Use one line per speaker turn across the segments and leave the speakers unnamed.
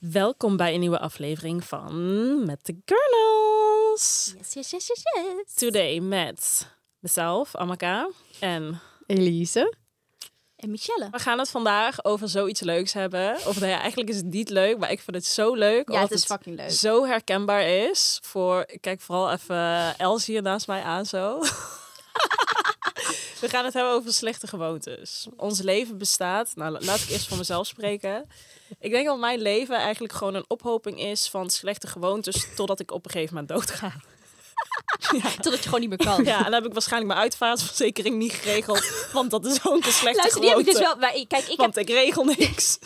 Welkom bij een nieuwe aflevering van Met de Gurnals.
Yes, yes, yes, yes, yes.
Today met mezelf, Amaka. En
Elise.
En Michelle.
we gaan het vandaag over zoiets leuks hebben. Of nou ja, eigenlijk is het niet leuk, maar ik vind het zo leuk.
Ja,
omdat
het is fucking leuk.
zo herkenbaar is. Voor, ik kijk vooral even Els hier naast mij aan zo. We gaan het hebben over slechte gewoontes. Ons leven bestaat, nou la- laat ik eerst voor mezelf spreken. Ik denk dat mijn leven eigenlijk gewoon een ophoping is van slechte gewoontes totdat ik op een gegeven moment doodga.
Totdat je gewoon niet meer kan.
Ja, en dan heb ik waarschijnlijk mijn uitvaartverzekering niet geregeld, want dat is ook een slechte
Luister, die
gewoonte.
heb ik dus wel. Maar ik- kijk, ik heb,
Want ik regel niks.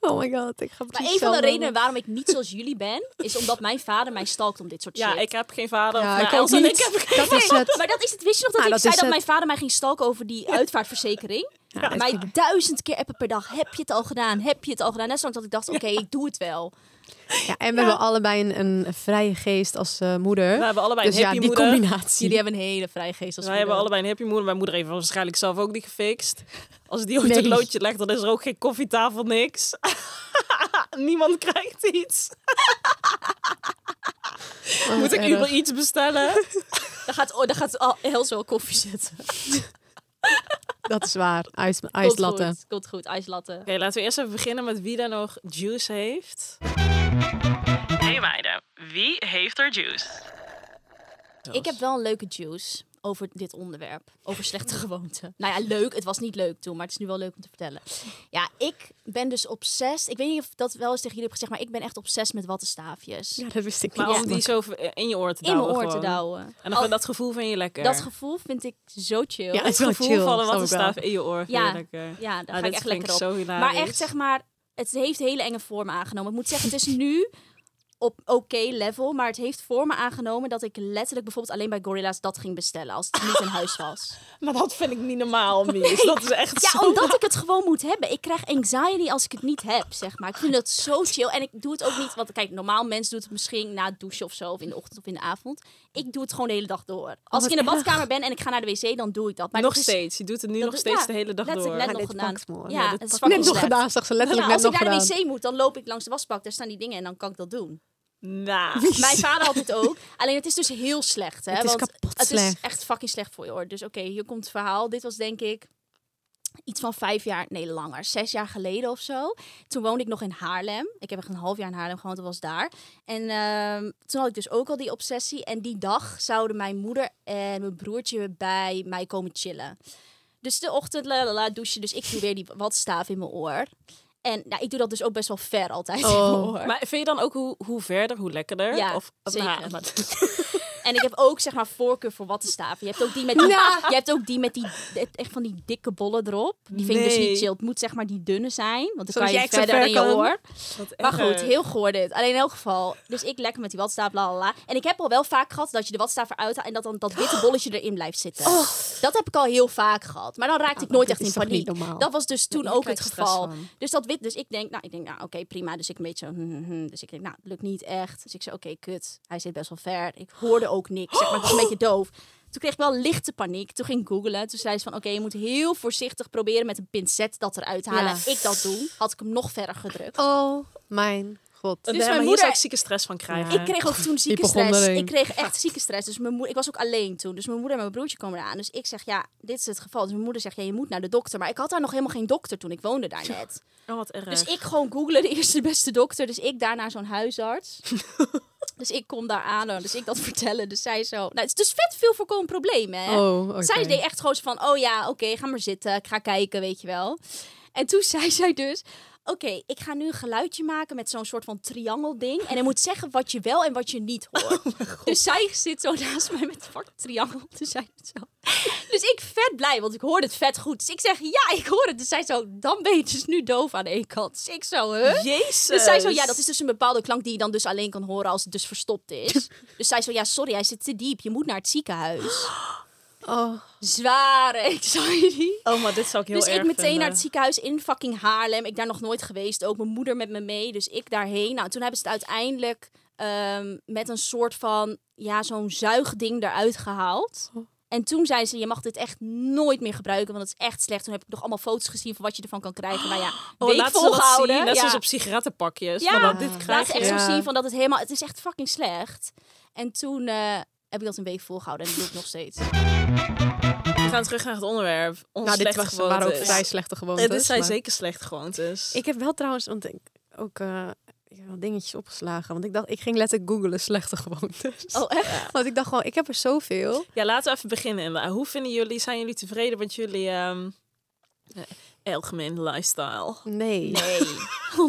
Oh my god, ik ga
maar een van
precies
de
hetzelfde
redenen waarom ik niet zoals jullie ben, is omdat mijn vader mij stalkt om dit soort
Ja,
shit.
ik heb geen vader.
doen. Ja,
Nou,
ik
Els
ook
en
niet.
ik heb geen
dat is het.
Maar dat is het. Wist je nog dat
Ah,
ik
dat
zei
is
dat
het.
mijn vader mij ging stalken over die uitvaartverzekering?
Ja, dat
Mij duizend keer appen per dag. Heb je het al gedaan? Heb je het al gedaan? Net zolang dat ik dacht, oké, ik doe het wel.
Ja, en we hebben allebei een, een vrije geest als eh, moeder.
We hebben allebei een
dus ja, die
hippie moeder.
combinatie.
Jullie hebben een hele vrije geest als
Wij hebben
moeder.
allebei een hippie moeder. Mijn moeder heeft waarschijnlijk zelf ook niet gefixt. Als die ooit
Nee.
een loodje legt, dan is er ook geen koffietafel, niks. Niemand krijgt iets.
Oh,
Moet ik
erg.
Uber iets bestellen?
Dan gaat, oh, dan gaat al, Els wel koffie zetten.
Dat is waar. Ijs,
Komt
ijslatten.
goed, Komt goed, ijslatten.
Oké, laten we eerst even beginnen met wie daar nog juice heeft. Hey meiden, wie heeft er juice?
Ik heb wel een leuke juice over dit onderwerp. Over slechte gewoonten. Nou ja, leuk. Het was niet leuk toen, maar het is nu wel leuk om te vertellen. Ja, ik ben dus obsessed. Ik weet niet of dat wel eens tegen jullie heb gezegd, maar ik ben echt obsessed met wattenstaafjes.
Ja, dat wist ik
Maar
niet.
om die zo in je oor te
In
douwen.
mijn oor te
gewoon.
douwen.
En dan
Al-
dat gevoel vind je lekker.
dat gevoel vind ik zo chill.
Ja, het is wel
Het gevoel
chill.
van een
snap ik wel.
wattenstaaf in je oor vind
Ja.
je lekker.
Ja, daar
Ah,
ga ik
dit
echt
vind
lekker op.
zo
Maar
hilarisch.
echt zeg maar, het heeft hele enge vormen aangenomen. Ik moet zeggen, het is nu op oké level, maar het heeft vormen aangenomen dat ik letterlijk bijvoorbeeld alleen bij Gorilla's dat ging bestellen als het niet in huis was.
Maar dat vind ik niet normaal, Mies. Dat is echt
Ja,
zo...
omdat ik het gewoon moet hebben. Ik krijg anxiety als ik het niet heb, zeg maar. Ik vind dat zo chill. En ik doe het ook niet, want kijk, normaal mens doet het misschien na het douchen of zo, of in de ochtend of in de avond. Ik doe het gewoon de hele dag door. Als ik in de badkamer ben en ik ga naar de wc, dan doe ik dat. Maar
nog
het is-
steeds. Je doet het nu
dat
nog
doe-
steeds
ja,
de hele dag door.
letterlijk net
Ja,
nog
dit
gedaan.
pakt me, hoor.
Ja,
Ja,
het
dit
is
pakt
fucking
Net nog
slecht.
gedaan, zag ze
Ja,
letterlijk net
als ik
nog
naar
gedaan.
de wc moet, dan loop ik langs de wasbak. Daar staan die dingen en dan kan ik dat doen.
Nou,
Mijn vader had het ook. Alleen het is dus heel slecht. Hè?
Het is
want
kapot
het is
slecht.
echt fucking slecht voor je hoor. Dus oké, hier komt het verhaal. Dit was denk ik iets van vijf jaar, nee langer, zes jaar geleden of zo. Toen woonde ik nog in Haarlem. Ik heb echt een half jaar in Haarlem gewoond, dat was daar. En ehm, toen had ik dus ook al die obsessie. En die dag zouden mijn moeder en mijn broertje bij mij komen chillen. Dus de ochtend, la la la, douchen. Dus ik doe weer die watstaaf in mijn oor. En nou, ik doe dat dus ook best wel ver altijd in mijn
Oh,
oor.
maar vind je dan ook hoe, hoe verder, hoe lekkerder?
Ja,
of, of-
zeker.
nou, maar-
En ik heb ook zeg maar voorkeur voor wattenstaven. Je hebt ook die met die, je hebt ook die, met die echt van die dikke bollen erop. Die vind ik dus
Nee.
niet chill. Het moet zeg maar die dunne zijn, want dan
Zodat
kan
je
je
extra
verder
ver
in je
kan.
oor.
Wat
Maar
erg.
goed, heel goor dit. Alleen in elk geval. Dus ik lekker met die wattenstaaf, la la la. En ik heb al wel vaak gehad dat je de wattenstaaf eruit haalt en dat dan dat witte bolletje erin blijft zitten.
Oh.
Dat heb ik al heel vaak gehad. Maar dan raakte ik nooit echt in paniek.
Oh,
Dat was dus toen ook het geval. Dus dat wit. Dus ik denk, nou, ik denk, nou, oké, prima. Dus ik een beetje zo, hmm, hmm, hmm. dus ik denk, nou, het lukt niet echt. Dus ik zei, oké, kut. Hij zit best wel ver. Ik hoorde ook niks. Zeg maar, ik was een beetje doof. Toen kreeg ik wel lichte paniek. Toen ging ik googlen. Toen zei ze van, oké, je moet heel voorzichtig proberen met een pincet dat eruit te halen. Ik dat doen. Had ik hem nog verder gedrukt.
Oh, mijn god.
Dus
Dus mijn
mijn moeder...
moeder-
zou ik zieke stress van krijgen.
Ik kreeg ook toen zieke stress.
Hypochondering.
Ik kreeg echt zieke stress. Dus mijn moeder, ik was ook alleen toen. Dus mijn moeder en mijn broertje komen eraan. Dus ik zeg, ja, dit is het geval. Dus mijn moeder zegt, ja, je moet naar de dokter. Maar ik had daar nog helemaal geen dokter toen. Ik woonde daar net.
Oh, wat erg.
Dus ik gewoon googlen de eerste beste dokter. Dus ik daar naar zo'n huisarts. dus ik kom daar aan. hoor. Dus ik dat vertellen. Dus zij zo... Nou, het is dus vet veel voorkomen probleem, hè?
Oh, oké.
Zij deed echt gewoon zo van, oh ja, oké, ga maar zitten. Ik ga kijken, weet je wel. En toen zei zij dus, oké, ik ga nu een geluidje maken met zo'n soort van triangelding. En hij moet zeggen wat je wel en wat je niet hoort. dus zij zit zo naast mij met vak triangel. Dus zij doet zo. Dus ik vet blij, want ik hoorde het vet goed. Dus ik zeg, ja, ik hoor het. Dus zij zo, dan ben je dus nu doof aan één kant. Dus ik zo, huh?
Jezus.
Dus zij zo, ja, dat is dus een bepaalde klank die je dan dus alleen kan horen als het dus verstopt is. dus zij zo, ja, sorry, hij zit te diep. Je moet naar het ziekenhuis
Oh,
zware anxiety.
Oh, maar dit zou ik heel
Dus
erg
ik meteen
vinden.
naar het ziekenhuis in fucking Haarlem. Ik daar nog nooit geweest. Ook mijn moeder met me mee. Dus ik daarheen. Nou, toen hebben ze het uiteindelijk ehm, met een soort van, ja, zo'n zuigding eruit gehaald.
Oh.
En toen zeiden ze, je mag dit echt nooit meer gebruiken, want het is echt slecht. Toen heb ik nog allemaal foto's gezien van wat je ervan kan krijgen. Maar ja,
Oh,
week
laten ze dat
volgehouden.
zien. Net
ja.
zoals op sigarettenpakjes.
Ja.
Maar dan dit
Laat
krijg
ze
je.
echt zo
Ja.
zien van dat het helemaal... Het is echt fucking slecht. En toen eh, heb ik dat een week volgehouden en dat doe ik nog steeds.
We gaan terug naar het onderwerp. Ons
nou, dit
slechte
was, waren ook
gewoontes.
vrij slechte gewoontes.
Ja, Eh, dit zijn
maar-
zeker slechte gewoontes.
Ik heb wel trouwens, want ik ook eh, ik heb wel dingetjes opgeslagen. Want ik dacht, ik ging letterlijk googelen slechte gewoontes.
Oh, echt?
Want ik dacht gewoon, ik heb er zoveel.
Ja, laten we even beginnen. inderdaad. Hoe vinden jullie, zijn jullie tevreden met jullie ehm eh, algemeen lifestyle?
Nee.
Nee,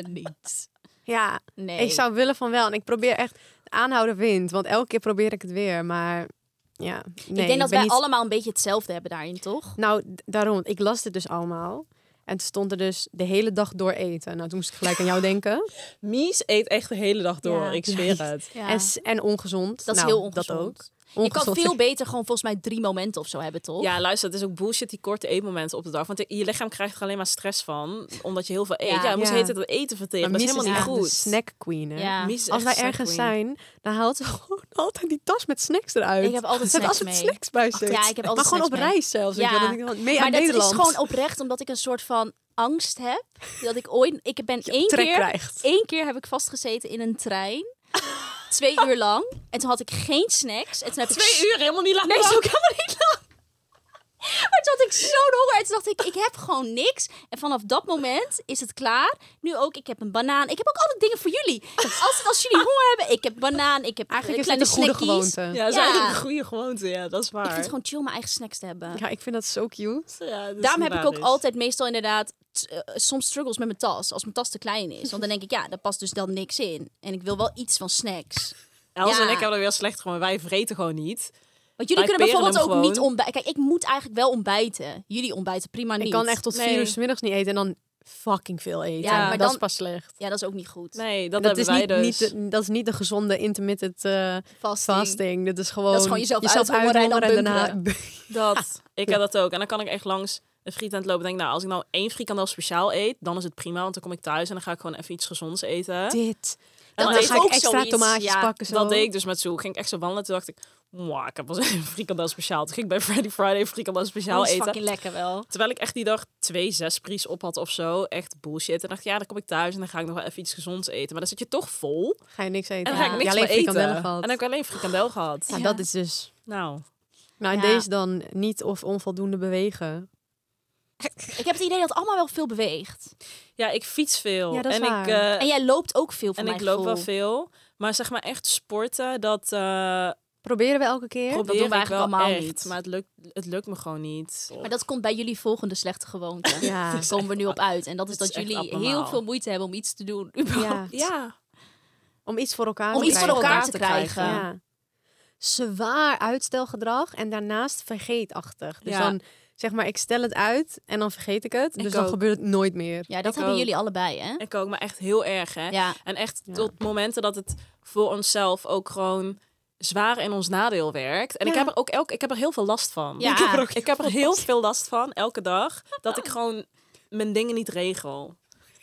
100% niet.
Ja,
Nee.
ik zou willen van wel. En ik probeer echt aanhouden wind. Want elke keer probeer ik het weer. Maar ja, nee.
ik denk dat
ben
wij
niet-
allemaal een beetje hetzelfde hebben daarin, toch?
Nou, d- daarom. Ik las dit dus allemaal. En toen stond er dus de hele dag door eten. Nou, toen moest ik gelijk aan jou denken.
Mies eet echt de hele dag door,
Ja.
ik zweer het.
En, s- en ongezond.
dat is
Nou,
heel ongezond.
Dat ook.
Je kan
Ongezond.
veel beter gewoon volgens mij drie momenten of zo hebben, toch?
Ja, luister, het is ook bullshit die korte eetmomenten op de dag. Want je lichaam krijgt er alleen maar stress van, omdat je heel veel eet.
Ja.
Ja, je moest
Ja.
heet het eten
Maar
verteren. Dat
Mies
is
is
helemaal niet
echt de
goed.
snack queen, hè? Dus
Ja.
Mies is
Als wij
echt een
ergens
snack queen.
zijn, dan haalt ze gewoon altijd die tas met snacks eruit.
Ik heb altijd
Ze heeft
snacks
altijd
mee.
snacks bij zich.
Ja, ik heb altijd
maar gewoon op
snacks mee.
reis zelfs.
Ja.
Ja. Ik wil dat ik mee
maar
uit
dat
Nederland
is gewoon oprecht omdat ik een soort van angst heb. Dat ik ooit... Ik ben één
trek
keer...
krijgt.
Eén keer heb ik vastgezeten in een trein. Twee uur lang. En toen had ik geen snacks. En toen heb ik
Twee uur, helemaal niet lang.
Nee, is ook helemaal niet lang. Maar toen had ik zo'n honger. En toen dacht ik, ik heb gewoon niks. En vanaf dat moment is het klaar. Nu ook, ik heb een banaan. Ik heb ook altijd dingen voor jullie. Als, als jullie honger hebben, ik heb banaan. Ik heb
Eigenlijk
eh,
is dit
kleine
een goede
snackies.
gewoonte.
Ja, dat is
Ja.
eigenlijk een goede gewoonte, ja, dat is waar.
Ik vind het gewoon chill om mijn eigen snacks te hebben.
Ja, ik vind dat dus. zo cute.
Ja, dat is dus.
Daarom heb ik ook
hilarisch.
altijd meestal inderdaad t- eh, soms struggles met mijn tas. Als mijn tas te klein is. Want dan denk ik, ja, daar past dus dan niks in. En ik wil wel iets van snacks.
Els
Ja.
en ik hebben er weer slecht gewoon. Wij vreten gewoon niet.
Want jullie
Wij
kunnen
peren
bijvoorbeeld ook
hem
niet
gewoon.
ontbijten. Kijk, ik moet eigenlijk wel ontbijten. Jullie ontbijten prima niet.
Ik kan echt tot
Nee.
vier uur 's middags niet eten en dan fucking veel eten.
Ja, maar
dat
dan-
is pas slecht.
Ja, dat is ook niet goed.
Nee, dat,
dat,
hebben
is
wij
niet,
dus.
niet de, dat is niet de gezonde intermittent eh,
Fasting.
fasting. Dit is gewoon,
Dat is gewoon jezelf
uit
uithongeren en dan
Dat. Ik heb dat ook. En dan kan ik echt langs een frietent lopen. en Denk, nou, als ik nou één frikandel speciaal eet, dan is het prima. Want dan kom ik thuis en dan ga ik gewoon even iets gezonds eten.
Dit.
En
Dan
dat is
ga ik
ook
extra
zoiets,
tomaatjes
ja.
pakken. Zo.
Dat deed ik dus met Zoe. Ging ik echt zo wandelen. Toen dacht ik, "Mwah, ik heb wel zin in een frikandel speciaal. Toen ging ik bij Friday Friday frikandel speciaal
Oh,
Dat is
eten.
fucking lekker wel.
Terwijl ik echt die dag twee zespries op had of zo. Echt bullshit. En dacht ik, ja, dan kom ik thuis en dan ga ik nog wel even iets gezonds eten. Maar dan zit je toch vol.
Ga je niks eten.
En dan ga ik
Ja.
niks
alleen
meer eten.
frikandellen
En
gehad.
dan heb ik alleen frikandel gehad.
Ja,
Ja.
dat is dus...
Nou,
Nou, en
Ja.
deze dan niet of onvoldoende bewegen.
Ik heb het idee dat het allemaal wel veel beweegt.
ja, ik fiets veel.
Ja, dat is
en
waar.
ik eh,
En jij loopt ook veel van
En ik loop wel veel. Maar zeg maar echt sporten, dat eh
Proberen we elke keer?
probeer
doen we
ik
eigenlijk
wel
allemaal
echt.
niet.
Maar het lukt, het lukt me gewoon niet. Oh.
Maar dat komt bij jullie volgende slechte gewoonte.
Ja.
Daar komen we nu op uit. En dat
Het
is dat
is echt
jullie heel
abnormaal.
veel moeite hebben om iets te doen.
ja.
Ja,
Om iets voor elkaar
Om
te
iets voor
krijgen.
elkaar te krijgen.
Ja. zwaar uitstelgedrag en daarnaast vergeetachtig. Dus
Ja.
dan zeg maar, ik stel het uit en dan vergeet ik het.
Ik
dus dan
ook.
gebeurt het nooit meer.
Ja, dat
Ik
hebben
ook.
jullie allebei, hè?
Ik ook, maar echt heel erg, hè?
Ja.
En echt
Ja.
tot momenten dat het voor onszelf ook gewoon zwaar in ons nadeel werkt. En ik
Ja.
heb er ook elk, ik heb er heel veel last van.
Ja. Oh.
Ik heb er, ook, ik heb er heel veel last van, elke dag. Dat ik gewoon mijn dingen niet regel.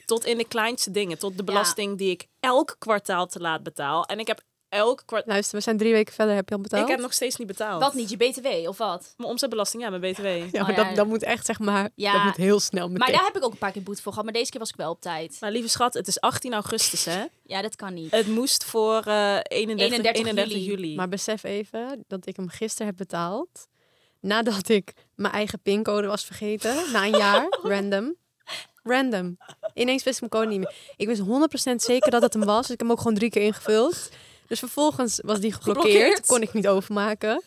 Tot in de kleinste dingen. Tot de belasting die ik elk kwartaal te laat betaal. En ik heb elk kwartaal...
Luister, we zijn drie weken verder. Heb je al betaald?
Ik heb nog steeds niet betaald.
Wat niet, je BTW of wat?
Mijn omzetbelasting, ja, mijn BTW.
Ja,
Oh,
maar
ja,
dat,
ja.
dat moet echt, zeg maar,
Ja.
dat moet heel snel meteen.
Maar daar heb ik ook een paar keer boete voor gehad, maar deze keer was ik wel op tijd.
Maar lieve schat, het is 18 augustus, hè?
Ja, dat kan niet.
Het moest voor eh 31,
31
31,
juli.
juli.
Maar besef even dat ik hem gisteren heb betaald. Nadat ik mijn eigen pincode was vergeten. Na een jaar. Random. Random. Ineens wist ik mijn code niet meer. Ik wist 100% zeker dat het hem was. Dus ik heb hem ook gewoon drie keer ingevuld. Dus vervolgens was die geblokkeerd.
Geblokkeerd?
Kon ik niet overmaken.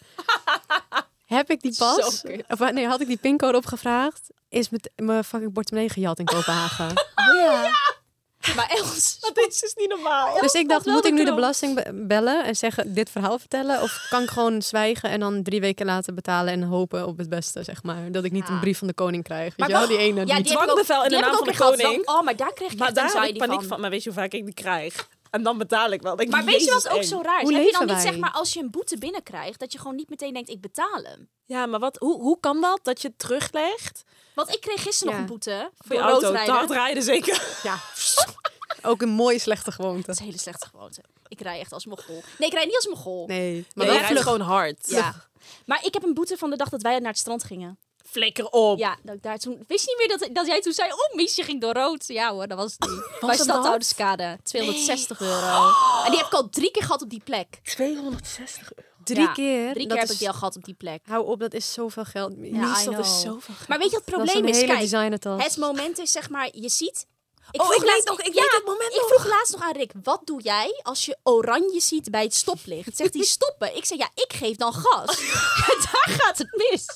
heb ik die pas?
Zo kut.
Of nee, had ik die pincode opgevraagd? Is met mijn fucking portemonnee gejat in Kopenhagen.
Oh,
Maar Els,
Dit is niet normaal.
Dus ik dacht,
wel
moet
de
ik nu de
knop.
belasting be- bellen en zeggen, dit verhaal vertellen? Of kan ik gewoon zwijgen en dan drie weken later betalen en hopen op het beste, zeg maar? Dat ik niet
Ja.
een brief van de koning krijg. Weet
Maar
je wel,
wel-
die ene.
ja,
die-
die heb ik ook,
dwangbevel in
die
de
heb ik
naam
ook weer
van de
gehad.
koning.
Want- Oh, maar daar kreeg ik
Maar
echt
daar heb ik
anxiety
paniek
van.
van. Maar weet je hoe vaak ik die krijg? En dan betaal ik wel. Denk,
Maar weet je
Jezus,
wat ook
eng.
zo raar is?
Hoe
heb je dan
leven
niet,
wij?
zeg maar, als je een boete binnenkrijgt, dat je gewoon niet meteen denkt, ik betaal hem.
Ja, maar wat, hoe, hoe kan dat? Dat je het teruglegt?
Want ik kreeg gisteren
Ja.
nog een boete voor
Voor je
rood
auto. Te
rijden.
hard rijden zeker.
ja. ook een mooie slechte gewoonte.
Dat is een hele slechte gewoonte. Ik rij echt als mogol. Nee, ik rij niet als mogol.
Nee, maar
Maar
wel
je rijdt
vlug.
gewoon hard.
Ja. Maar ik heb een boete van de dag dat wij naar het strand gingen.
Flikker op.
Ja, dat ik daar toen... Wist je niet meer dat, dat jij toen zei... Oh, Miesje ging door rood. Ja hoor, dat was het niet. Bij
dat
Stad Ouderskade. 260 euro. En die heb ik al drie keer gehad op die plek.
260 euro.
Drie
Ja,
keer.
Drie
dat
keer heb
is-
ik die al gehad op die plek.
Hou op, dat is zoveel geld.
Ja,
Mies,
I
dat
know.
is zoveel geld.
Maar weet je wat het
Dat is
probleem
een
is?
hele
Kijk,
designertas.
Het moment is zeg maar, je ziet.
Oh,
vroeg
ik weet nog, ik weet het moment
Ik
nog.
vroeg laatst nog aan Rick, wat doe jij als je oranje ziet bij het stoplicht? Zegt hij stoppen? Ik zeg ja, ik geef dan gas. En daar gaat het mis.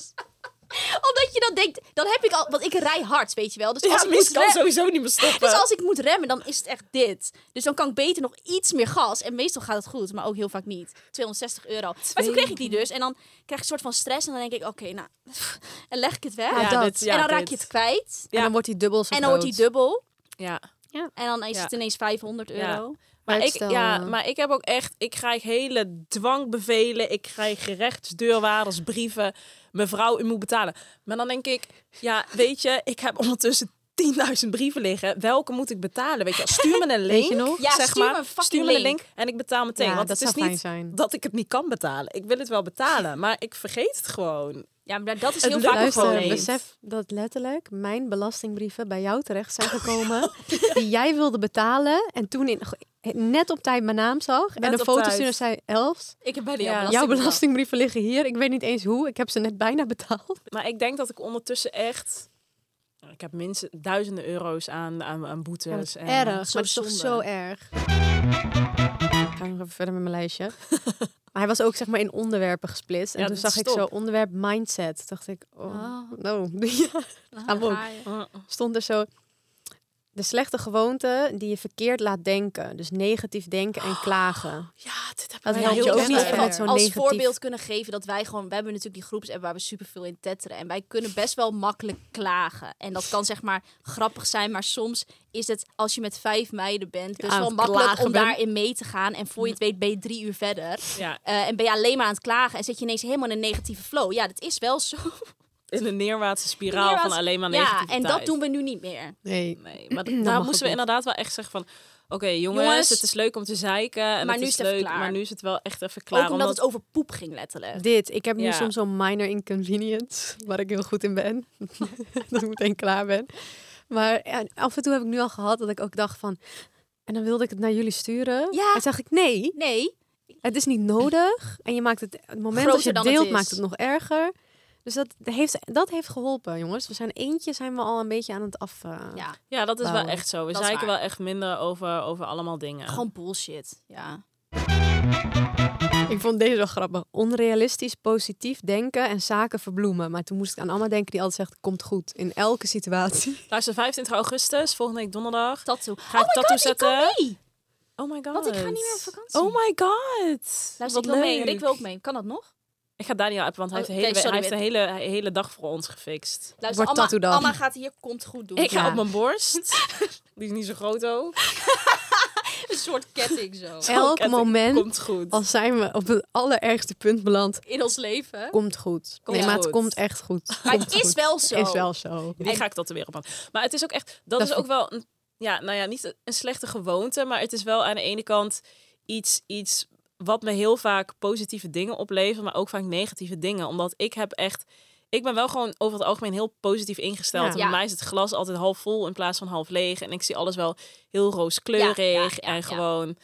Omdat je dan denkt, dan heb ik al, want ik rij hard, weet je wel. Dus als,
Ja,
ik
Mies
moet
kan
rem-
sowieso niet meer stoppen.
dus als ik moet remmen, dan is het echt dit. Dus dan kan ik beter nog iets meer gas. En meestal gaat het goed, maar ook heel vaak niet. 260 euro. Maar toen kreeg ik die dus. En dan krijg ik een soort van stress. En dan denk ik, oké, nou, en leg ik het weg.
Ja,
Ja,
dat.
dit- ja,
en dan raak
dit.
je het kwijt.
En dan wordt die dubbel zo
En dan wordt die
groot.
dubbel.
Ja.
En dan is
Ja.
het ineens 500
Ja.
euro.
Maar ik,
Uitstel,
ja,
eh.
maar ik heb ook echt, ik krijg hele dwangbevelen, ik krijg gerechtsdeurwaarders, brieven, mevrouw, u moet betalen. Maar dan denk ik, ja, weet je, ik heb ondertussen 10.000 brieven liggen, welke moet ik betalen? Weet je, stuur me een link,
Weet je nog?
Ja,
zeg
stuur me
maar,
een fucking
stuur me een
link.
link en ik betaal meteen.
Ja,
want
dat
het is
zou fijn
niet
zijn.
dat ik het niet kan betalen. Ik wil het wel betalen, maar ik vergeet het gewoon.
Ja, maar dat is
Het
heel vaak een
lukt
Luister,
gewoon
probleem.
niet.
besef dat letterlijk mijn belastingbrieven bij jou terecht zijn gekomen. Die jij wilde betalen en toen in, net op tijd mijn naam zag.
Net
en een
op
foto
tijd.
stuurde en zei, Els,
Ik heb bijna
Ja.
jouw
jouw
belasting.
belastingbrieven liggen hier. Ik weet niet eens hoe. Ik heb ze net bijna betaald.
Maar ik denk dat ik ondertussen echt, nou, ik heb minstens duizenden euro's aan, aan, aan boetes. en,
erg.
zo
Maar het is
zonde.
toch zo erg. Ik ga nog even verder met mijn lijstje. Maar hij was ook zeg maar in onderwerpen gesplitst. En
Ja,
toen
dat is
zag ik
top.
zo onderwerp mindset. Toen dacht ik, oh,
Ah.
no. Ja. Ah, wow. stond er zo. De slechte gewoonte die je verkeerd laat denken. Dus negatief denken en klagen.
Ja, dit heb ik
Dat
mij
helpt
heel
je ook
erg
niet
bij.
van dat zo'n
als
negatief...
voorbeeld kunnen geven dat wij gewoon... We hebben natuurlijk die groepsapp waar we superveel in tetteren. En wij kunnen best wel makkelijk klagen. En dat kan zeg maar grappig zijn. Maar soms is het, als je met vijf meiden bent... best
aan
wel
het
makkelijk
klagen
om
bent.
daarin mee te gaan. En voor je het weet ben je drie uur verder.
Ja,
Eh, en ben je alleen maar aan het klagen. En zit je ineens helemaal in een negatieve flow. Ja, dat is wel zo.
in een neerwaartse spiraal
Wanneer
van
was-
alleen maar
Ja,
negativiteit.
en dat doen we nu niet meer.
Nee.
Nee, maar
mag
daar
ook
moesten we
niet.
inderdaad wel echt zeggen van... Oké, jongens,
Jongens,
het is leuk om te zeiken. En
maar
het
nu
is
is het even
leuk,
klaar.
Maar nu is het wel echt even klaar.
Ook omdat het over poep ging letterlijk.
Dit. Ik heb nu
Ja.
soms zo'n minor inconvenience. Waar ik heel goed in ben. dat ik meteen klaar ben. Maar ja, af en toe heb ik nu al gehad dat ik ook dacht van... En dan wilde ik het naar jullie sturen.
Ja.
En zag ik, nee,
Nee,
het is niet nodig. En je maakt het, het moment dat
Groter
je
dan
het
het
deelt,
is.
maakt het nog erger. Dus dat heeft, dat heeft geholpen, jongens. We zijn eentje, zijn we al een beetje aan het af... eh,
ja.
Ja, dat is wel
Bouwen.
echt zo. We
Dat is
zeiken
waar.
wel echt minder over, over allemaal dingen.
Gewoon bullshit. Ja.
Ik vond deze wel grappig. Onrealistisch positief denken en zaken verbloemen. Maar toen moest ik aan Amma denken die altijd zegt, komt goed. In elke situatie.
Luister, 25 augustus, volgende week donderdag.
Tattoo.
Ga ik tattoo zetten?
mee.
Oh my god.
Want ik ga niet meer op vakantie.
Oh my god.
Luister, ik
Wat
wil mee.
leuk.
Rick wil ook mee. Kan dat nog?
Ik ga Daniel appen, want hij
Oh,
heeft, de hele,
oké, sorry,
hij heeft de hele, hele dag voor ons gefixt.
Luister,
Wordt
Amma,
tattoo dan.
Amma gaat hier komt goed doen.
Ik ga
Ja.
op mijn borst. Die is niet zo groot ook.
Een soort ketting zo.
Elk
Ketting.
moment,
Komt goed.
al zijn we op het allerergste punt beland,
In ons leven.
komt goed.
Komt
nee, maar het
goed.
komt echt goed.
Maar het
Komt
is
goed.
wel zo.
Is wel zo.
Die ga ik tot de weer op aan. Maar het is ook echt, dat,
Dat
is
vind-
ook wel, een, ja, nou ja, niet een slechte gewoonte, maar het is wel aan de ene kant iets, iets wat me heel vaak positieve dingen oplevert, maar ook vaak negatieve dingen. Omdat ik heb echt, ik ben wel gewoon over het algemeen heel positief ingesteld.
Ja.
En bij
Ja.
mij is het glas altijd half vol in plaats van half leeg. En ik zie alles wel heel rooskleurig
Ja, ja, ja, ja.
en gewoon...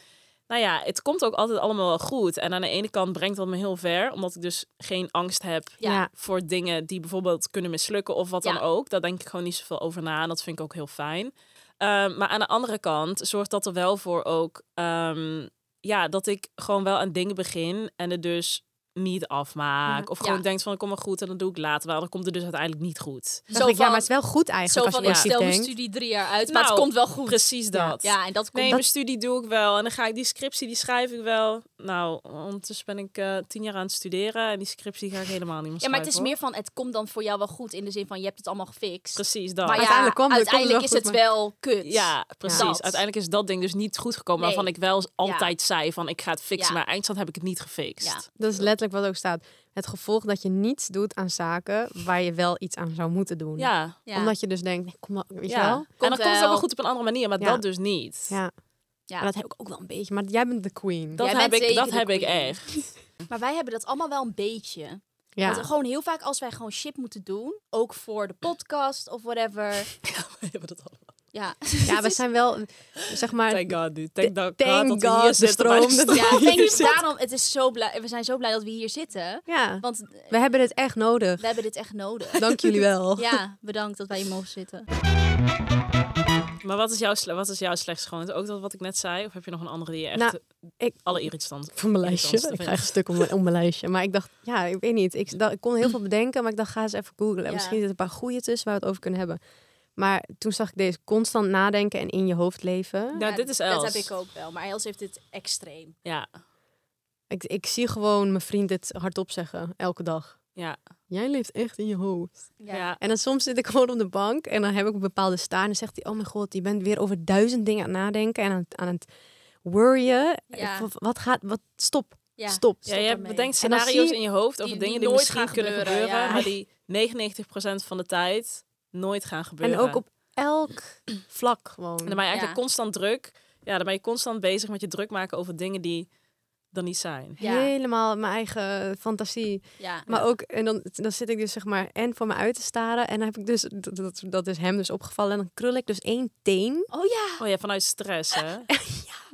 Nou ja, het komt ook altijd allemaal wel goed. En aan de ene kant brengt dat me heel ver, omdat ik dus geen angst heb
Ja.
voor dingen die bijvoorbeeld kunnen mislukken of wat
Ja.
dan ook. Daar denk ik gewoon niet zoveel over na en dat vind ik ook heel fijn. Ehm, maar aan de andere kant zorgt dat er wel voor ook ehm, ja, dat ik gewoon wel aan dingen begin en het dus niet afmaak. Of gewoon
Ja.
denk van, kom maar goed en dan doe ik later wel. Dan komt het dus uiteindelijk niet goed.
Dacht ik, ja, maar het is wel goed
zo
eigenlijk als
van,
je
ik
positief
stel mijn
denkt.
studie drie jaar uit, maar het
Nou,
komt wel goed.
Precies dat.
Ja, en dat komt...
Nee,
dat-
mijn studie doe ik wel. En dan ga ik die scriptie, die schrijf ik wel. Nou, ondertussen ben ik eh, tien jaar aan het studeren. En die scriptie ga ik helemaal niet meer
ja, maar het is
schrijven,
meer van, het komt dan voor jou wel goed. In de zin van, je hebt het allemaal
hoor.
gefixt.
Precies dat.
Maar ja,
Uiteindelijk
uiteindelijk,
kwam het, kwam het
is
wel
het
goed,
wel kut.
Ja, precies.
Dat.
Uiteindelijk is dat ding dus niet goed gekomen.
Nee.
Waarvan ik wel altijd zei van ik ga het fixen.
Ja.
Maar eindstand heb ik het niet gefixt.
Ja.
Dat is letterlijk wat ook staat. Het gevolg dat je niets doet aan zaken waar je wel iets aan zou moeten doen.
Ja.
Ja.
Omdat je dus denkt, nee, kom maar, weet je
Ja.
wel?
en dan komt het ook wel
wel.
goed op een andere manier. Maar
Ja.
dat dus niet.
Ja.
Ja.
Maar dat heb ik ook wel een beetje. Maar jij bent de queen.
Dat
Jij
heb
bent
ik, dat
zeker de
heb ik
queen.
echt.
Maar wij hebben dat allemaal wel een beetje.
ja.
Want gewoon heel vaak als wij gewoon shit moeten doen, ook voor de podcast of whatever.
We hebben dat allemaal.
Ja,
ja, we zijn wel, zeg maar...
Thank God, dude. Thank, God
thank
dat we
God,
hier
de
zitten bij
stroom, dat we
ja
hier
thank you.
zitten.
daarom, het is zo blij, we zijn zo blij dat we hier zitten.
Ja,
Want eh,
we hebben het echt nodig.
we hebben dit echt nodig.
Dank jullie wel.
Ja, bedankt dat wij hier mogen zitten.
Maar wat is, jouw, sle- wat is jouw slechtste gewoonte? Ook dat wat ik net zei? Of heb je nog een andere die je echt...
Nou, ik-
Alle irritant.
Van mijn
Irritant
lijstje.
te
Ik ga
vinden.
echt een stuk om mijn, om mijn lijstje. Maar ik dacht, ja, ik weet niet. Ik, dacht- ik kon heel veel bedenken, maar ik dacht, ga eens even googlen.
Ja.
Misschien zitten een paar goede tussen waar we het over kunnen hebben. Maar toen zag ik deze constant nadenken en in je hoofd leven.
Nou, dit is Els.
Dat heb ik ook wel, maar Els heeft dit extreem.
Ja.
Ik, ik zie gewoon mijn vriend dit hardop zeggen, elke dag.
Ja.
Jij leeft echt in je hoofd.
Ja.
En dan soms zit ik gewoon op de bank en dan heb ik een bepaalde staar. En dan zegt hij, oh mijn god, je bent weer over duizend dingen aan het nadenken en aan het, aan het worryen.
Ja.
Van, Wat gaat, wat, stop,
Ja.
stop.
Ja, je
daarmee.
bedenkt
En dan zie
scenario's
je-
in je hoofd over
die-
dingen
die
die,
nooit
misschien
gaan
kunnen
gebeuren,
gebeuren,
ja.
maar die 99% van de tijd nooit gaan gebeuren.
En ook op elk vlak gewoon.
En dan ben je eigenlijk
Ja.
constant druk. Ja, dan ben je constant bezig met je druk maken over dingen die dan niet zijn.
Ja.
Helemaal mijn eigen fantasie.
Ja.
Maar ook, en dan, dan zit ik dus zeg maar en voor me uit te staren. En dan heb ik dus, dat, dat, dat is hem dus opgevallen. En dan krul ik dus één teen.
Oh ja.
Oh ja, vanuit stress, hè?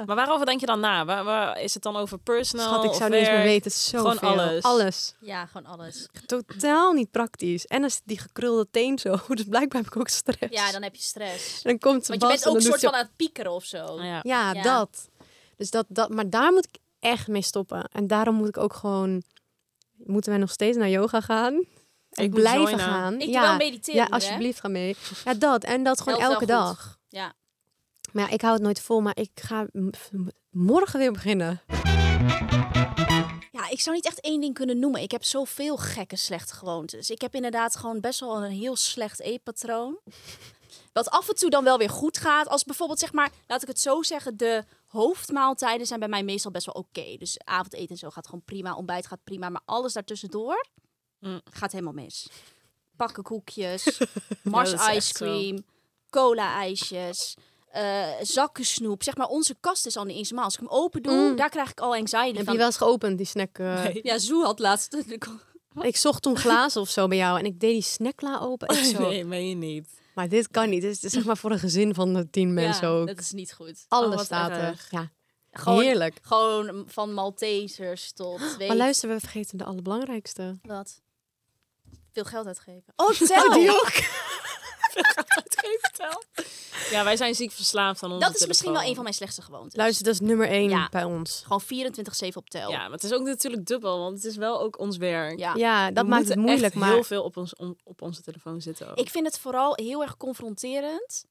Maar waarover denk je dan na? Waar, waar- is het dan over personal?
Schat, ik
of
zou niet eens meer
werk?
weten. Zo
Gewoon alles.
Alles.
Ja, gewoon alles.
Totaal niet praktisch. En dan zit die gekrulde teen zo. Dus blijkbaar heb ik ook stress.
Ja, dan heb je stress.
En dan komt ze
Want je bent ook
een
een soort van aan het piekeren of zo.
Ja.
Ja,
Ja.
dat. Dus dat, dat. Maar daar moet ik echt mee stoppen. En daarom moet ik ook gewoon... Moeten wij nog steeds naar yoga gaan? En
moet
blijven
joinen.
gaan.
Ik
ja.
wil mediteren.
Ja,
hè?
alsjeblieft, ga mee. Ja, dat. En dat gewoon
Helpt
elke
wel goed.
dag.
Ja.
Maar ja, ik hou het nooit vol, maar ik ga m- m- morgen weer beginnen.
Ja, ik zou niet echt één ding kunnen noemen. Ik heb zoveel gekke slechte gewoontes. Ik heb inderdaad gewoon best wel een heel slecht eetpatroon. Wat af en toe dan wel weer goed gaat. Als bijvoorbeeld, zeg maar, laat ik het zo zeggen, de hoofdmaaltijden zijn bij mij meestal best wel oké. Dus avondeten en zo gaat gewoon prima, ontbijt gaat prima. Maar alles daartussendoor
Mm.
gaat helemaal mis. Pakkenkoekjes, Mars
dat is echt
ice cream, cola-ijsjes, eh, zakken snoep. Zeg maar, onze kast is al niet eens normaal. Als ik hem open doe,
Mm.
daar krijg ik al anxiety
Heb
van.
je wel eens geopend, die snack? eh?
Nee.
Ja, Zoe had laatst.
Ik zocht toen glazen of zo bij jou en ik deed die snackla open. Ik zo,
Nee, meen je niet.
Maar dit kan niet. Dit is, dit is zeg maar voor een gezin van de tien mensen ook.
Dat is niet goed.
Alles
Oh, wat
staat er.
erg.
Ja,
Gewoon,
heerlijk.
gewoon van Maltesers tot. Weet
Maar luister, we vergeten de allerbelangrijkste.
Wat? Veel geld uitgeven. Oh, tel!
Ja, wij zijn ziek verslaafd aan onze
dat is misschien wel
telefoon.
een van mijn slechtste gewoontes.
Luister, dat is nummer één
Ja.
bij ons.
Gewoon 24-7 op tel.
Ja, maar het is ook natuurlijk dubbel, want het is wel ook ons werk.
Ja.
Ja, dat
We
maakt het
moeten
moeilijk.
echt
Maar
heel veel op, ons, om- op onze telefoon zitten ook.
Ik vind het vooral heel erg confronterend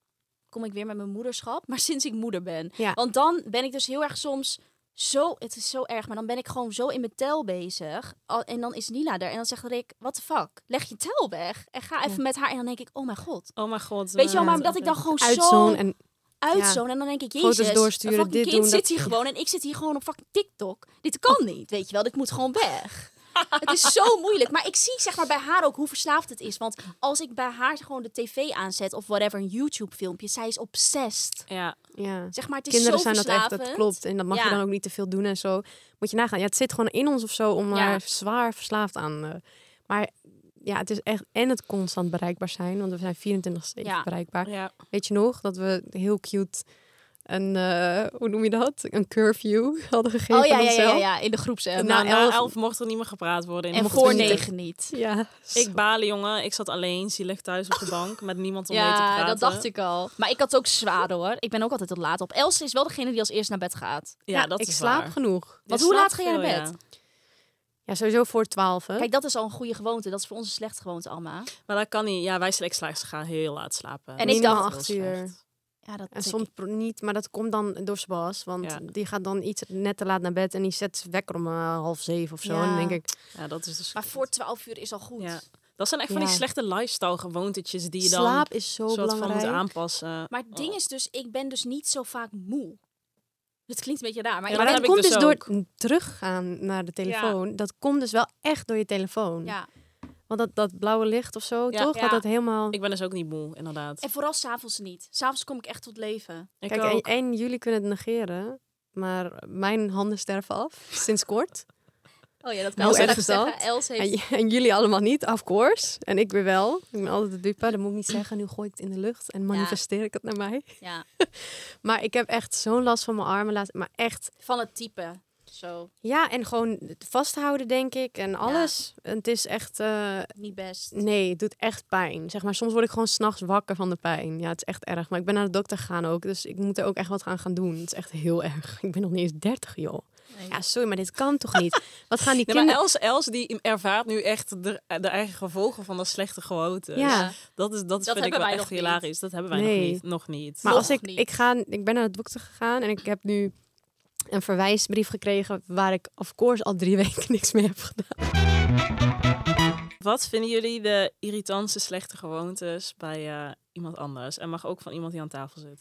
kom ik weer met mijn moederschap. Maar sinds ik moeder ben.
Ja.
Want dan ben ik dus heel erg soms zo... Het is zo erg, maar dan ben ik gewoon zo in mijn tel bezig. Al- En dan is Nila er. En dan zegt Rick, what the fuck? Leg je tel weg. En ga even met haar. En dan denk ik, oh mijn god.
Oh mijn god.
Weet je wel, maar dat ik dan gewoon zo
Uitzoen en
uitzoon. En dan denk ik,
Foto's
jezus, een
doorsturen,
fucking
dit
kind
doen,
zit
dat- Oh.
hier gewoon en ik zit hier gewoon op fucking TikTok. Dit kan niet, weet je wel. Dit moet gewoon weg. Het is zo moeilijk. Maar ik zie zeg maar bij haar ook hoe verslaafd het is. Want als ik bij haar gewoon de tv aanzet of whatever, een YouTube filmpje, zij is obsessed.
Ja.
ja.
Zeg maar, het is
Kinderen
zo
zijn dat echt,
verslavend.
dat klopt. En dat mag
Ja.
je dan ook niet te veel doen en zo. Moet je nagaan. Ja, het zit gewoon in ons of zo om
Ja.
daar zwaar verslaafd aan. eh. maar ja, het is echt en het constant bereikbaar zijn, want we zijn 24 7
Ja.
bereikbaar.
ja.
Weet je nog dat we heel cute een eh, hoe noem je dat? Een curfew hadden gegeven
Oh ja,
aan
ja, ja,
onszelf.
ja, ja, in de groep zelf.
Nou,
Na,
Na
na elf...
elf-
mocht er niet meer gepraat worden. In
en
de
voor
ochtend.
negen niet.
Ja.
Ik balen, jongen. Ik zat alleen, zielig thuis op de bank met niemand om mee te praten.
Ja, dat dacht ik al. Maar ik had het ook zwaar hoor. Ik ben ook altijd tot laat op. Els is wel degene die als eerst naar bed gaat.
Ja, dat
ik
is
slaap
waar.
genoeg.
Want
Je
hoe
slaapt
laat ga jij naar
veel,
bed?
ja.
Ja, sowieso voor 12. hè?
Kijk, dat is al een goede gewoonte. Dat is voor ons een slechte gewoonte, Alma.
Maar dat kan niet. Ja, wij slechts gaan heel laat slapen.
En
Dat
ik
is
dacht-
heel
acht uur.
slecht.
Ja, dat
En soms pro- niet, maar dat komt dan door Sebas. Want
Ja.
die gaat dan iets net te laat naar bed en die zet zijn wekker om eh, half zeven of zo.
Ja.
En dan denk ik,
Ja, dat is dus...
Maar voor 12 uur is al goed.
Ja. Dat zijn echt van
Ja.
die slechte lifestyle gewoontetjes die je dan
slaap is zo
soort van
belangrijk.
moet aanpassen.
Maar het ding is dus, ik ben dus niet zo vaak moe. Het klinkt een beetje raar, maar,
Ja,
ik
maar
dat
dat,
ben...
heb ik
komt
dus
dus door teruggaan naar de telefoon. Dat komt dus wel echt door je telefoon.
Ja.
Want dat, dat blauwe licht of zo,
Ja.
toch?
Ja.
Dat dat helemaal...
Ik ben dus ook niet moe, inderdaad.
En vooral s'avonds niet. S'avonds kom ik echt tot leven.
Ik
Kijk,
ook.
en, en jullie kunnen het negeren. Maar mijn handen sterven af, sinds kort.
Oh ja, dat
kan Hoe Els erg straks is dat?
zeggen.
zeggen.
Els heeft...
En, j- en jullie allemaal niet, of course. En ik weer wel. Ik ben altijd de dupe, dat moet ik niet zeggen. Nu gooi ik het in de lucht en manifesteer ik het naar mij.
Ja,
Maar ik heb echt zo'n last van mijn armen. laatst. Maar echt,
van het type. Zo,
ja, en gewoon het vasthouden, denk ik. En alles. En Het is echt, eh,
niet best.
nee, het doet echt pijn. Zeg maar, soms word ik gewoon s'nachts wakker van de pijn. Ja, het is echt erg. Maar ik ben naar de dokter gegaan ook. Dus ik moet er ook echt wat aan gaan doen. Het is echt heel erg. Ik ben nog niet eens 30, joh.
Nee.
Ja, sorry, maar dit kan toch niet? Wat gaan die
Nee, maar
kinderen...
Els, Els die ervaart nu echt de, de eigen gevolgen van dat slechte gewoonte.
Ja.
Dat, is, dat, vind ik
hebben
wel
wij
echt
nog niet.
hilarisch. Dat hebben wij nog
Nee.
niet. Nog niet.
Maar
Nog
als ik,
niet.
ik, ga, ik ben naar de dokter gegaan en ik heb nu een verwijsbrief gekregen waar ik of course al drie weken niks mee heb gedaan.
Wat vinden jullie de irritantste slechte gewoontes bij eh, iemand anders? En mag ook van iemand die aan tafel zit.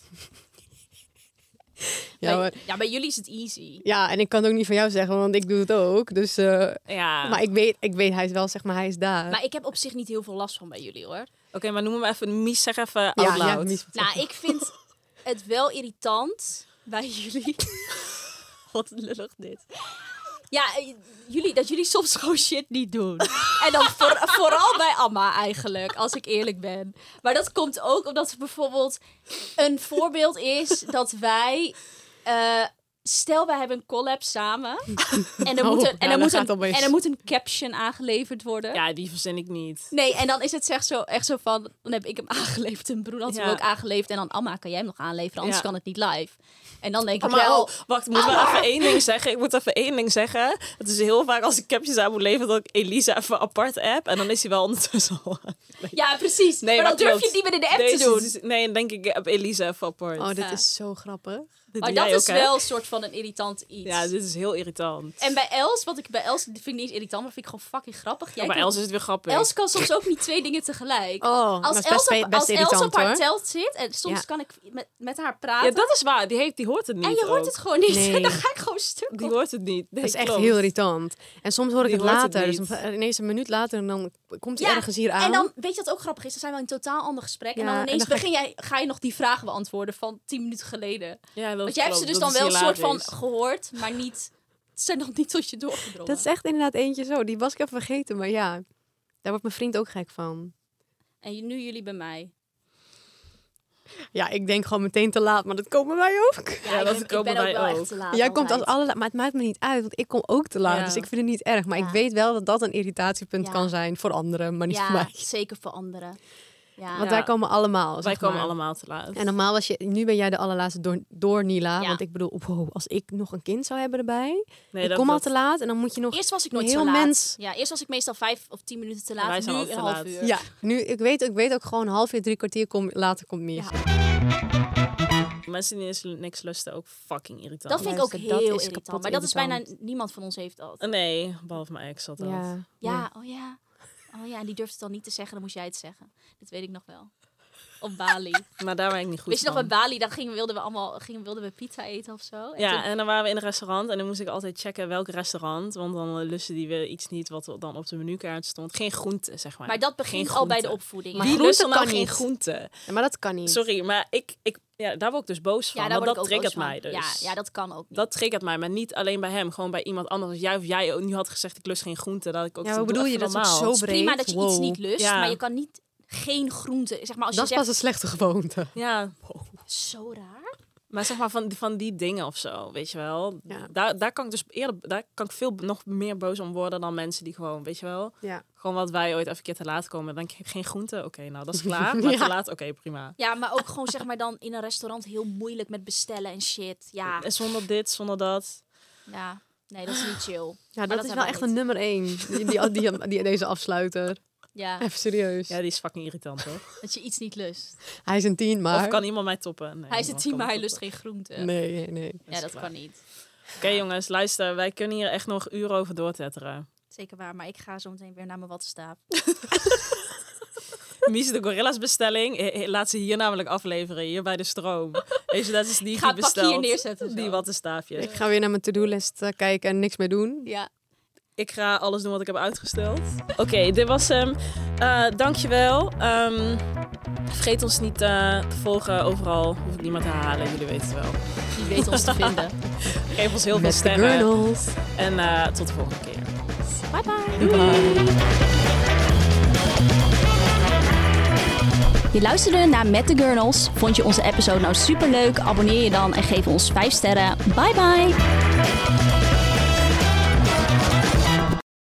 Ja,
bij,
maar-
ja, bij jullie is het easy.
ja, en ik kan het ook niet van jou zeggen, want ik doe het ook. Dus, eh,
Ja.
Maar ik weet, ik weet, hij is wel, zeg maar, hij is daar.
Maar ik heb op zich niet heel veel last van bij jullie, hoor.
Oké, maar noem hem even. Mies, zeg even out
ja, ja,
loud.
mis-
Nou, ik vind het wel irritant bij jullie. Wat lullig dit. Ja, eh, jullie, dat jullie soms gewoon shit niet doen. En dan voor- vooral bij Amma eigenlijk, als ik eerlijk ben. Maar dat komt ook omdat het bijvoorbeeld een voorbeeld is dat wij... eh, stel, wij hebben een collab samen. En er
Oh,
moet
ja,
een, en er
dat
moet
gaat
een,
opeens.
en er moet een caption aangeleverd worden.
Ja, die verzin ik niet.
Nee, en dan is het echt zo, echt zo van, dan heb ik hem aangeleverd en Broen had hem
Ja.
ook aangeleverd. En dan, Amma, kan jij hem nog aanleveren, anders
Ja.
kan het niet live. En dan denk ik
Maar
wel,
oh, wacht, ik moet wel even één ding zeggen. Ik moet even één ding zeggen. Het is heel vaak als ik captures aan moet leveren dat ik Elisa even apart app. En dan is hij wel ondertussen al.
ja precies,
Nee,
maar dan
maar
durf
klopt.
je het niet meer in de app
Deze
te doen.
is- nee, dan denk ik, ik heb Elisa even apart.
Oh, dit
Ja.
is zo grappig.
Dit
maar
doe
dat
jij
is
ook, hè?
wel een soort van een irritant iets.
Ja, dit is heel irritant.
En bij Els, wat ik bij Els vind ik niet eens irritant, maar vind ik gewoon fucking grappig. Jij
Ja, maar
kan-
Els is het weer grappig.
Els kan soms ook niet twee dingen tegelijk.
Oh,
als
dat is
Els
best,
op,
best
als Els
irritant,
op haar
hoor.
telt zit, en soms
Ja.
kan ik met, met haar
ja,
praten.
dat is waar. Die, heeft, die hoort het niet.
en je hoort
ook.
het gewoon niet.
Nee.
En dan ga ik gewoon stuk op.
Die hoort het niet. Nee,
Dat is echt
klopt.
heel irritant. En soms hoor ik
Die
het
hoort het
later.
niet.
dus dan- ineens een minuut later en dan komt hij
Ja,
ergens hier aan.
En dan, weet je wat ook grappig is? Dan zijn we in een totaal ander gesprek. en
Ja,
dan
en
ineens
dan ga
begin jij, ga je nog die vragen beantwoorden van tien minuten geleden.
Ja, dat
Want jij hebt ze dus
klopt.
dan
Dat
wel
is
een soort van
hilarisch.
gehoord, maar niet... Ze zijn nog niet tot je doorgedrongen.
Dat is echt inderdaad eentje zo. Die was ik even vergeten, maar ja. Daar wordt mijn vriend ook gek van.
En nu jullie bij mij.
Ja, ik denk gewoon meteen te laat, maar dat komen wij ook.
Ja,
ik
dat
ben, ik
komen
ben ook
wij
wel
ook.
echt te laat.
Jij komt als
altijd.
allerlaat, maar het maakt me niet uit, want ik kom ook te laat.
Ja.
Dus ik vind het niet erg. Maar
Ja.
ik weet wel dat dat een irritatiepunt
Ja.
kan zijn voor anderen, maar niet voor
Ja,
mij.
zeker voor anderen. Ja.
Want
Ja.
wij komen allemaal.
Wij
zeg
komen
maar.
allemaal te laat.
En normaal was je, nu ben jij de allerlaatste door, door Nila.
Ja.
Want ik bedoel, wow, als ik nog een kind zou hebben erbij.
nee,
ik
dat-
kom al
dat-
te laat en dan moet je nog.
Eerst was ik nooit
Heel
zo laat.
mens.
Ja, eerst was ik meestal vijf of tien minuten te
wij
laat. Nu
zijn
een
altijd te
half
laat.
uur.
Ja, nu, ik, weet, ik weet ook gewoon half uur, drie kwartier kom, later komt meer.
Ja.
Mensen die eens niks lusten, ook fucking irritant.
Dat vind ik ook
Luister,
heel
dat is
irritant.
kapot
Maar dat is bijna
irritant.
niemand van ons heeft dat.
Oh, Nee, behalve mijn ex had dat.
Ja.
Ja, oh ja. Oh ja, en die durfde het dan niet te zeggen, dan moest jij het zeggen. Dat weet ik nog wel. Op Bali.
Maar daar ben ik niet goed
Weet je nog, bij
van.
Bali, dan gingen, wilden we allemaal gingen, wilden we pizza eten of zo. En
ja,
toen-
en dan waren we in een restaurant en dan moest ik altijd checken welk restaurant. Want dan eh, lusten die weer iets niet wat dan op de menukaart stond. Geen groente, zeg maar.
maar dat begint al bij de
groente.
opvoeding.
Maar
Ja.
Die
groente
lusten nou
kan
geen
niet.
groente.
Maar dat kan niet.
Sorry, maar ik, ik, ja, daar word ik dus boos van.
ja, daar
want dat
word ik ook boos
triggert
van.
mij dus.
Ja, ja, dat kan ook niet.
Dat triggert mij, maar niet alleen bij hem. Gewoon bij iemand anders. Als jij of jij ook nu had gezegd, ik lust geen groente. Dat ik ook
Ja,
zo
wat
doe
bedoel je?
even
Dat is ook
normaal.
zo
Het is prima
breed.
dat je iets
Wow.
niet lust,
Ja.
maar je kan niet geen groente. Zeg maar als je
dat is pas
zegt,
een slechte gewoonte.
Ja,
zo raar.
maar zeg maar van, van die dingen of zo, weet je wel.
Ja.
Daar, daar kan ik dus eerder, daar kan ik veel nog meer boos om worden dan mensen die gewoon, weet je wel.
Ja.
Gewoon wat wij ooit even een keer te laat komen. Dan denk ik, geen groente? Oké, nou dat is klaar. Maar te laat, oké, prima.
Ja, maar ook gewoon zeg maar dan in een restaurant heel moeilijk met bestellen en shit. Ja,
En Zonder dit, zonder dat.
ja. Nee, dat is niet chill.
Ja,
dat
dat, is
hebben
wel
we
echt
niet.
een nummer één. Die, die, die, die- deze afsluiter.
Ja,
Even serieus.
Ja, die is fucking irritant, toch?
dat je iets niet lust.
Hij is een tien, maar...
Of kan iemand mij toppen? Nee,
hij is
niemand
het
kan
team, maar
me
hij lust
toppen.
geen groente.
Nee, nee, nee.
Ja, dat
klaar.
kan niet.
Oké jongens, luister. Wij kunnen hier echt nog uren over doortetteren.
Zeker waar, maar ik ga zo meteen weer naar mijn wattenstaaf.
Mies de Gorilla's bestelling. eh, eh, Laat ze hier namelijk afleveren. Hier bij de stroom. Weet je, dat is die
Ik ga
die
het pakje hier
besteld.
neerzetten.
Die wattenstaafjes.
Ik ga weer naar mijn to-do-list eh, kijken en niks meer doen.
Ja.
Ik ga alles doen wat ik heb uitgesteld. Oké, dit was hem. Eh, dankjewel. Ehm, vergeet ons niet eh, te volgen overal. Hoef ik niemand te halen, jullie weten het wel.
Die weet ons te vinden.
Geef ons heel veel
Met de
sterren.
girls.
En eh, tot de volgende keer.
Bye bye. Je luisterde naar Met de Gurnals. Vond je onze episode nou superleuk? Abonneer je dan en geef ons 5 sterren. Bye bye.